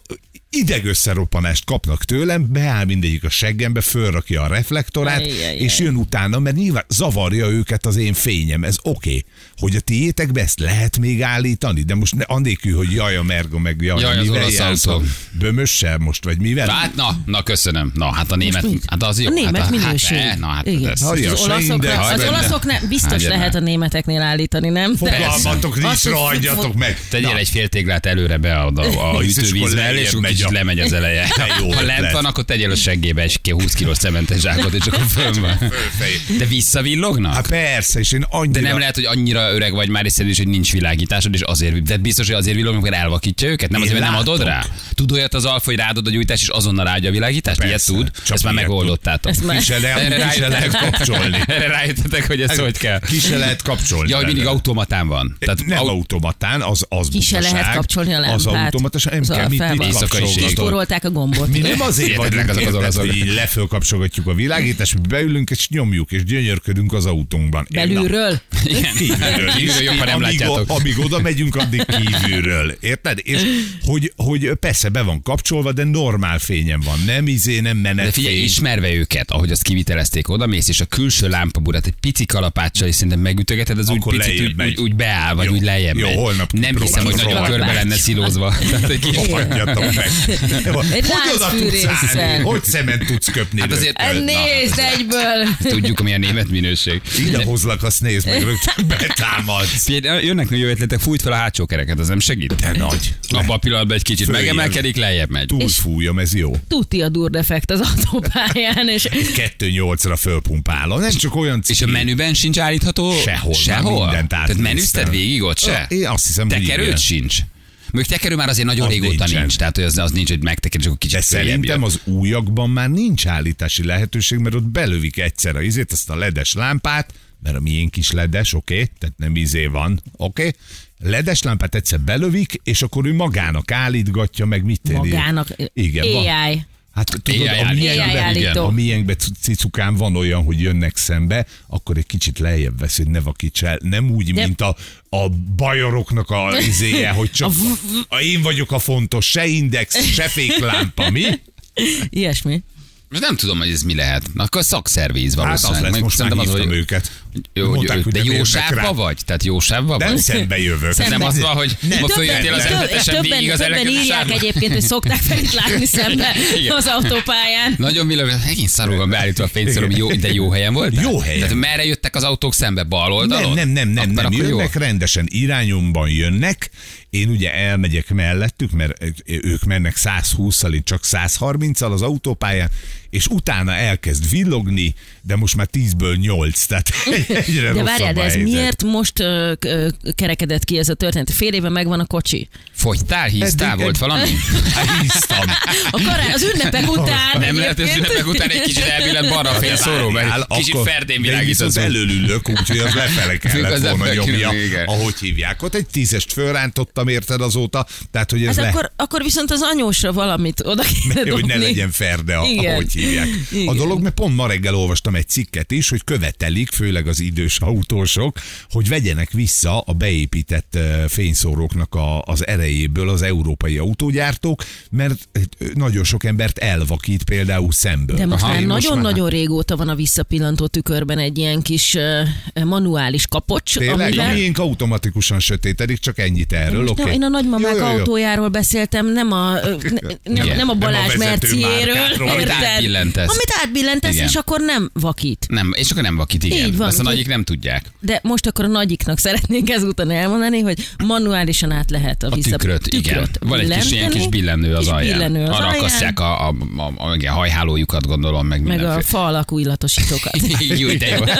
idegösszeroppanást kapnak tőlem, beáll mindegyik a seggembe, fölrakja a reflektorát,
Ajjajjaj.
és jön utána, mert nyilván zavarja őket az én fényem. Ez oké, okay, hogy a tiétekbe ezt lehet még állítani, de most ne, anélkül, hogy jaj a mergo, meg jaj,
Jaj, az
mivel
olasz
jársz
autó.
a bömössel most, vagy mivel?
Hát na, na köszönöm. Na, hát a német,
mit?
hát az jó.
A német
hát,
minőség.
Hát, eh, na, hát
Igen.
ez.
Hallja,
Az
se
olaszoknak,
index
az
benne.
olaszok nem, biztos
Hagyjad
lehet a
már.
németeknél állítani, nem?
Hát Fogalmatok nincs,
Azt, hogy-
rohadjatok meg.
Tegyél
Na,
egy fél téglát előre be a, a, a
[LAUGHS] És akkor
hűtővízbe,
lejjebb
és akkor
megy
kicsit
a-
lemegy az eleje.
[LAUGHS] jó
ha lent
ötlet.
van, akkor tegyél a seggébe egy ki- 20 kilós cementes zsákot, és akkor fönn van. De visszavillognak?
Hát persze, és én
de
annyira...
nem lehet, hogy annyira öreg vagy már, és szerint is, hogy nincs világításod, és azért, de biztos, hogy azért villognak, mert elvakítja őket, nem
Én
azért, mert nem
látok.
adod rá. Tud olyat az alfa, hogy ráadod a gyújtást, és azonnal ráadja a világítást? Ilyet
Persze,
tud?
csak
Ezt már
ilyet tud.
megoldottátok.
Ezt már-
Ki se
[LAUGHS] Erre
lehet, ki se lehet
rájöttetek-
kapcsolni.
[LAUGHS]
Hát,
Erre rájöttetek, hogy ez hogy kell.
Ki se lehet kapcsolni.
Ja, hogy mindig
vele.
automatán van.
Tehát nem
au-
automatán, az, az
Ki se
butaság,
lehet kapcsolni a
Az
lámpát.
automatás, nem
Az
kell, mit,
alfával.
mit
Éjszaka is
kapcsolgatod?
ég.
Kispórolták a gombot.
Mi nem azért
Hihetetlenek
vagyunk
azok az
azok az
olaszok.
hogy így lefölkapcsolgatjuk a világítást, mi beülünk és nyomjuk, és gyönyörködünk az autónkban. Én
[LAUGHS]
Belülről?
Igen.
Kívülről.
Kívülről jobb, ha nem
amíg,
látjátok.
amíg oda megyünk, addig kívülről. Érted? És hogy, hogy persze be van kapcsolva, de normál fényen van. Nem izé, nem menet.
De figyelj,
fény.
ismerve őket, ahogy azt kivitelezték, oda mész, és a külső lámpaburát egy pici kalapáccsal is szerintem megütögeted, az
Akkor
úgy picit
lejjebb
úgy,
megy.
úgy, úgy, beáll, vagy
Jó.
úgy lejjebb
Jó,
megy.
holnap
Nem hiszem,
kipróbálom.
hogy nagyon
Próbálom.
körbe lenne szilózva. Tehát egy kis-
Rohadjatok meg. De van-
Egy
Hogy oda tudsz
láncfűrészsel.
állni? Hogy szemen tudsz köpni?
Hát
rögtön?
azért
E, Nézd
[LAUGHS]
egyből!
tudjuk, mi a német minőség.
Ide hozlak, azt nézd meg, rögtön betámadsz.
Figyelj, jönnek jó ötletek, fújt fel a hátsó kereket, az nem segít?
De nagy.
Abban a pillanatban egy kicsit
Följebb.
megemelkedik, lejjebb megy.
Túlfújom, ez jó.
Tuti a durdefekt az autópályán, és
2-8-ra fölpumpálom. Ez csak olyan
És a
cím.
menüben sincs állítható?
Sehol, már
Sehol?
mindent
Tehát
átnéztem.
menüzted végig ott se?
Én azt hiszem, hogy igen.
Tekerőt sincs. Mondjuk tekerő már azért nagyon
Az
régóta
nincsen.
nincs, tehát hogy az, az nincs, hogy megtekerés, akkor kicsit
De
följebb
szerintem
jön.
az újakban már nincs állítási lehetőség, mert ott belövik egyszer a izét, azt a ledes lámpát, mert a miénk is ledes, oké, okay? tehát nem izé van, oké, okay? ledes lámpát egyszer belövik, és akkor ő magának állítgatja, meg mit tenni.
magának.
Igen, van.
AI.
Hát
AI
tudod, a
állító.
miénkben,
AI
igen,
állító.
a miénkben cu- cicukán van olyan, hogy jönnek szembe, akkor egy kicsit lejjebb vesz, hogy ne vakíts el. Nem úgy,
De-
mint a, a bajoroknak a izéje, hogy csak a, én vagyok a fontos, se index, se féklámpa, mi?
Ilyesmi.
Most nem tudom, hogy ez mi lehet. Na, akkor szakszervíz
Hát
valószínűleg.
az lesz,
Meg
most már
szerintem az,
hívtam
hogy-
őket.
Jó,
Mondták,
hogy-
hogy
de
nem
jó
érnek rá.
sávba vagy? Tehát jó sávba
Nem
vagy?
szembe jövök.
Szembe.
Nem az van, hogy ma
Többen-
följöttél az
több-
ötletesen végig az
többen
elektromos
írják
sávba.
egyébként, hogy szokták Ferit látni szembe
Igen.
az autópályán.
Nagyon világos, egész szarul van beállítva a fényszorom, jó, de jó helyen volt.
Jó helyen.
Tehát merre jöttek az autók szembe? Bal
Nem,
oldalon?
nem, nem, nem,
Akkor-
nem.
akkor jó.
Jönnek rendesen, irányomban jönnek. Én ugye elmegyek mellettük, mert ők mennek 120-szal, én csak 130-szal az autópályán, és utána elkezd villogni, de most már 10-ből 8, tehát [LAUGHS] egyre
De
rosszabb
várjál, de
a
ez
helyzet.
miért most ö, k- ö, kerekedett ki ez a történet? Fél éve megvan a kocsi.
Fogytál, híztál,
Eddig-
volt valami?
[LAUGHS] [LAUGHS] Hát hisztam.
[LAUGHS] A kará, az ünnepek után.
Nem lehet, hogy
egyébként.
ünnepek után egy kicsit
[LAUGHS]
elbillent barra fél szóró,
Várjál,
mert kicsit
akkor-
ferdén
de én
világít
viszont
az út.
elől ülök, úgyhogy az lefele
az
kellett volna
ember
nyomja.
külön, igen.
Ahogy hívják, ott egy tízest fölrántottam, érted azóta, tehát hogy ez
Hát
le...
akkor, akkor viszont az anyósra valamit oda kéne
hogy ne
dobni.
legyen ferde, a-
Igen.
ahogy hívják. A
Igen.
dolog, mert pont ma reggel olvastam egy cikket is, hogy követelik, főleg az idős autósok, hogy vegyenek vissza a beépített eh, fényszóróknak a, az erejéből az európai autógyártók, mert eh, nagyon sok embert elvakít például szemből.
De most
Aha,
már
én most
nagyon-nagyon régóta van a visszapillantó tükörben egy ilyen kis ö, manuális kapocs,
Tényleg? A
amivel...
miénk automatikusan sötétedik, csak ennyit erről, oké?
Most nem,
Okay.
én a nagymamák autójáról beszéltem, nem a, ö, ne,
Igen.
nem, nem a
Nem a
Balázs
vezető
Merciéről.
márkákról.
érted?
Amit átbillentesz.
Amit átbillentesz,
Igen.
és akkor nem vakít.
Nem, és akkor nem vakít, igen.
Így van,
Azt a
úgyhogy-
nagyik nem tudják.
De most akkor a nagyiknak szeretnék ezúton elmondani, hogy manuálisan át lehet a,
A
vissza...
tükröt, igen. Van egy kis, ilyen kis billenő az
kis
alján.
billenő az
Arra
alján,
akasztják a, a, a, a, igen, hajhálójukat, gondolom, meg
meg a
mindenféle.
fa alakú
[LAUGHS]
[LAUGHS] illatosítókat.
Jó, de jó. De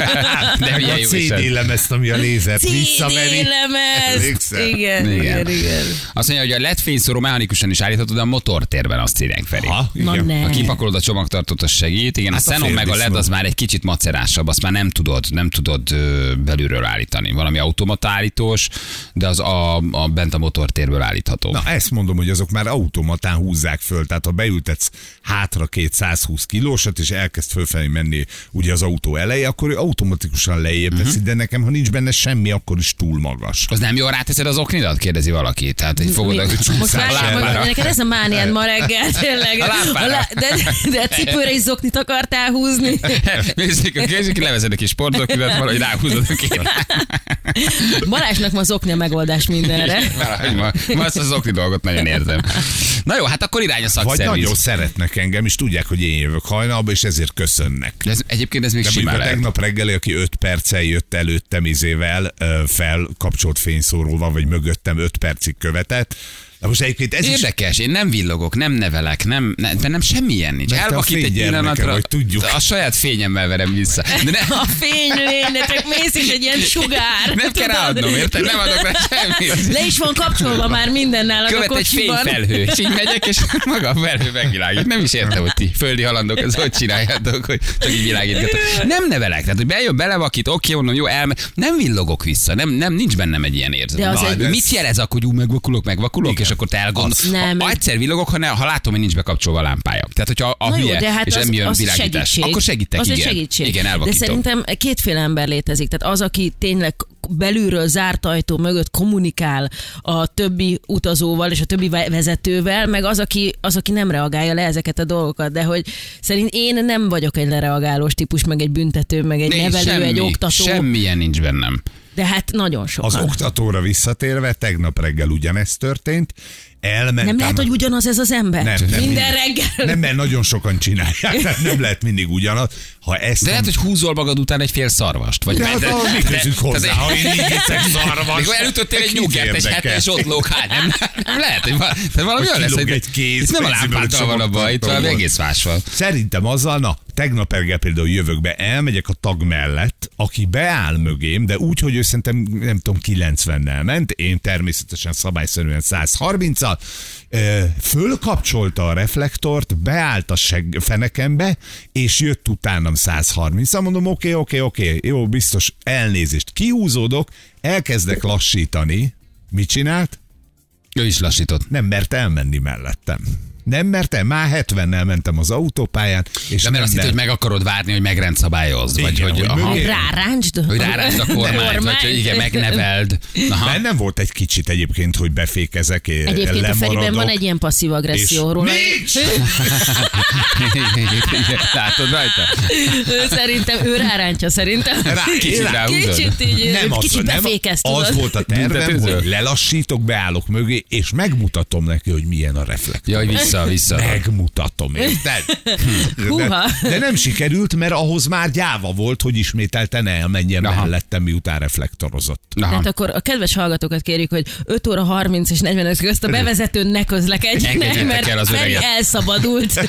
De
milyen
a
jó is
CD
ez.
lemezt, ami a lézert
CD
visszaveri.
lemez!
Emlékszel?
Igen, igen.
Igen. igen.
igen.
Azt mondja, hogy a lett fényszóró mechanikusan is állítható, de a motortérben azt írják felé.
Ha,
Na
igen.
ne.
Ha kipakolod a csomagtartót, az segít. Igen,
Hát
hát
a
a Xenon meg a LED az
félviszmó.
már egy kicsit macerásabb, azt már nem tudod, nem tudod ö, belülről állítani. Valami automata állítós, de az a, a bent a motortérből állítható.
Na ezt mondom, hogy azok már automatán húzzák föl, tehát ha beültetsz hátra két 120 kilósat, és elkezd fölfelé menni ugye az autó eleje, akkor ő automatikusan lejjebb teszi, de nekem, ha nincs benne semmi, akkor is túl magas.
Az nem jó, ráteszed az oknidat? Kérdezi valaki. Tehát így fogod a,
Most
a
várjál,
lábára.
hogy neked ez a mániád ma reggel, tényleg.
[LAUGHS] A lábára.
de, de cipőre is zoknit akartál
[LAUGHS]
húzni.
Nézzük, nézzük, levezed a kis sportoknidat, valahogy ráhúzod a két.
Balázsnak ma zokni a megoldás mindenre.
Valahogy ma, ma azt az okni dolgot nagyon érzem. Na jó, hát akkor irány a
Vagy nagyon
szakszerviz.
szeretnek engem, és tudják, hogy én jövök hajnalba, és ezért köszönnek.
De ez, egyébként ez még
De mondjuk
simán
a
lehet.
tegnap reggel, aki 5 perccel jött előttem izével, ö, fel kapcsolt fényszóróval, vagy mögöttem 5 percig követett. De most egyébként ez is
Érdekes, én nem villogok, nem nevelek, nem, nem, bennem semmilyen nincs.
Mert te a
Elvakít egy
fénygyermeke
pillanatra,
vagy, tudjuk.
a saját fényemmel verem vissza. De ne,
[LAUGHS] A fény lénye, csak mész is egy ilyen sugár.
nem kell
tudod?
ráadnom, érted? Nem adok rá semmit.
Le is van kapcsolva már minden nálad a
Követ egy
kocsiban.
fényfelhő, és így megyek, és [LAUGHS] maga a felhő megvilágít. Nem is értem, hogy ti földi halandók, ez hogy csináljátok, hogy csak így világítgatok. Nem nevelek, tehát hogy bejön, belevakít, oké, mondom, jó, elme. Nem villogok vissza, nem, nem nincs bennem egy ilyen érzet.
De az egy-
Mit jelez akkor, hogy ú, megvakulok, megvakulok,
Igen.
és akkor te
Az.
elgondolod.
Nem.
Ha, ha egyszer villogok, ha, ne, ha látom, hogy nincs bekapcsolva a lámpája. Tehát, hogyha a
Na
hülye,
jó, de hát
és
az,
nem jön
az
világítás,
segítség.
akkor segítek,
az
igen.
Egy segítség.
Igen,
De
elvakítom.
szerintem kétféle ember létezik. Tehát az, aki tényleg belülről zárt ajtó mögött kommunikál a többi utazóval és a többi ve- vezetővel, meg az, aki, az, aki nem reagálja le ezeket a dolgokat, de hogy szerint én nem vagyok egy lereagálós típus, meg egy büntető, meg egy
Nincs
nevelő, egy oktató,
Semmilyen nincs bennem.
de hát nagyon sokan.
Az oktatóra visszatérve, tegnap reggel ugyanezt történt. Elmentem.
nem lehet, hogy ugyanaz ez az ember?
Nem, nem,
Minden
mindig.
reggel.
Nem, mert nagyon sokan csinálják, tehát nem lehet mindig ugyanaz. Ha ezt
De hát
nem...
lehet, hogy húzol magad után egy fél szarvast. Vagy
de hát ahhoz mi közünk hozzá, ha én így eszek szarvas.
Mikor elütöttél egy nyugert, egy hetes ott lókát, nem, nem lehet, hogy val- tehát valami
Hogy
olyan lesz,
kilóg
hogy
egy kéz,
itt nem a
pénzből
lámpáddal van a baj, itt valami
csomagtartóból.
egész más van.
Szerintem azzal, na, tegnap reggel például jövök be, elmegyek a tag mellett, aki beáll mögém, de úgy, hogy ő szerintem, nem tudom, 90-nel ment, én természetesen szabályszerűen 130-al, ö, fölkapcsolta a reflektort, beállt a seg- fenekembe, és jött utánam 130-al, mondom, oké, oké, oké, jó, biztos, elnézést, kiúzódok, elkezdek lassítani, mit csinált?
Ő is lassított.
nem mert elmenni mellettem. Nem mertem, már 70-nel mentem az autópályán, és
De
nem
mert azt hitt, hogy
mert-
meg akarod várni, hogy megrendszabályoz, vagy
Igen,
hogy,
hogy
aha,
mögé-
Ráráncsd.
hogy rárásd a kormányt, vagy hogy igen, megneveld. Aha. [LAUGHS]
bennem volt egy kicsit egyébként, hogy befékezek, é-
Egyébként a Feriben
lemaradok,
van egy ilyen passzív agresszióról.
Nincs!
Látod rajta?
Ő [LAUGHS] szerintem, ő rárántja szerintem.
Rá, kicsit
Én-
ráhúzod?
Kicsit így,
Nem az,
kicsit
nem,
befékez,
az
tudod.
volt a tervem,
Büntetőző?
hogy lelassítok, beállok mögé, és megmutatom neki, hogy milyen a reflektor.
Jaj, vissza, vissza.
Megmutatom, érted?
[LAUGHS] Húha.
De, de nem sikerült, mert ahhoz már gyáva volt, hogy ismételten elmenjen
Aha.
mellettem, miután reflektorozott.
Aha.
Tehát akkor a kedves hallgatókat kérjük, hogy 5 óra 30 és 45 közt a bevezetőn ne közlekedjenek,
Engedjétek
mert
el az
Feri
öreget. [LAUGHS]
elszabadult.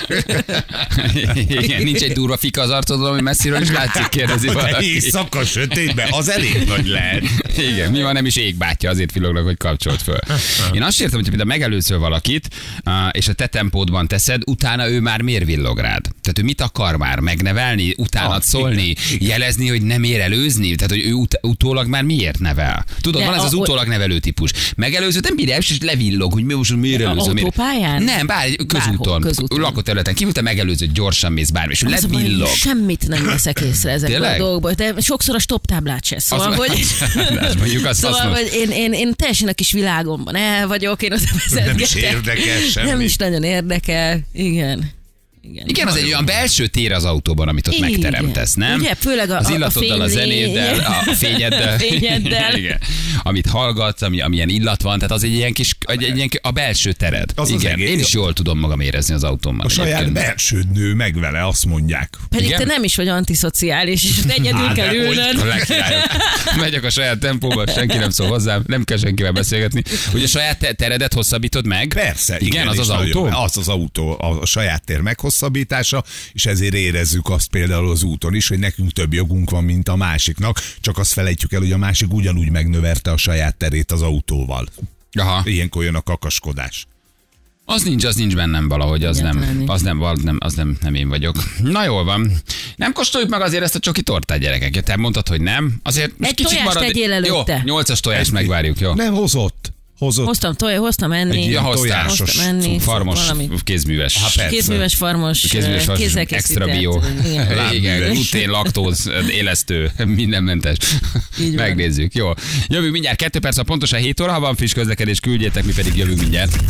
Igen, nincs egy durva fika az arcodon, ami messziről is látszik, kérdezi
Hogy
valaki.
éjszaka sötétben, az elég nagy lehet.
[LAUGHS] Igen, mi van, nem is égbátja, azért villognak, hogy kapcsolt föl. Én azt értem, hogy például megelőzöl valakit, á, és a te tempódban teszed, utána ő már miért villog rád? Tehát ő mit akar már? Megnevelni, utána
Ah,
szólni, jelezni, hogy nem ér előzni? Tehát, hogy ő ut- utólag már miért nevel? Tudod,
De
van ez
a-
az utólag nevelő típus. Megelőző, nem bírja, és levillog, hogy mi most miért
A
előző. miért-
autópályán?
Nem, bár közúton,
közúton.
lakóterületen, kívül te megelőző, gyorsan mész bármi, és ő
Az a baj,
levillog.
Szóval Semmit nem veszek észre ezekből a
Tényleg?
dolgokból. De sokszor a stop táblát se. Szóval,
Az- [LAUGHS]
hogy,
az mondjuk az
szóval
hasznos.
hogy én, én, én teljesen a kis világomban el vagyok, én ott vezetgetek.
érdekel
Nem
semmi.
is nagyon érdekel. Igen. Igen.
Igen, az egy olyan belső tér az autóban, amit ott
Igen.
megteremtesz, nem?
Ugye, főleg a-
az
a- a
illatoddal, a,
fény-
zenéddel,
[LAUGHS]
a fényeddel.
Fényeddel.
[LAUGHS] Igen. Amit hallgatsz, ami, amilyen illat van, tehát az egy ilyen kis, egy, egy ilyen, ki- a belső tered.
Az az
Igen,
egész.
én is jól tudom magam érezni az autómmal.
A saját
egyébként.
belsőd nő meg vele, azt mondják.
Pedig
Igen?
te nem is vagy antiszociális, és
[LAUGHS]
ott egyedül
Hát,
kell
dehogy.
A
ülnöd.
[LAUGHS]
legkirályabb. Megyek a saját tempóban, senki nem szól hozzám, nem kell senkivel beszélgetni. Ugye a saját te- teredet hosszabbítod meg?
Persze.
Igen, az
és
az
nagyon-
autó?
Az az autó, a, a saját tér meghosszabbítása, és ezért érezzük azt például az úton is, hogy nekünk több jogunk van, mint a másiknak, csak azt felejtjük el, hogy a másik ugyanúgy megnöverte a saját terét az autóval.
Aha.
Ilyenkor jön a kakaskodás.
Az nincs, az nincs bennem valahogy, az
Egyáltalán
nem,
nincs.
az nem, val- nem, az nem, nem én vagyok. Na jól van. Nem kóstoljuk meg azért ezt a csoki tortát, gyerekek. Ja, te mondtad, hogy nem. Azért most
Egy
kicsit
tojást
marad...
tegyél előtte.
Jó, nyolcas tojást megvárjuk, jó.
Nem hozott. Hozott.
Hoztam, toj, hoztam enni.
Egy ilyen
Ja, hoztál.
tojásos
Hoztam enni. szóval
Farmos,
Valami.
kézműves.
Hát persze.
Kézműves farmos,
Kézműves
ö,
farmos,
kézzel
extra
készített,
bio.
igen.
Igen,
Lábműves.
glutén, laktóz, élesztő, mindenmentes.
Így van.
Megnézzük, jó. Jövünk mindjárt, kettő perc, a pontosan 7 óra, ha van friss közlekedés, küldjétek, mi pedig jövünk mindjárt.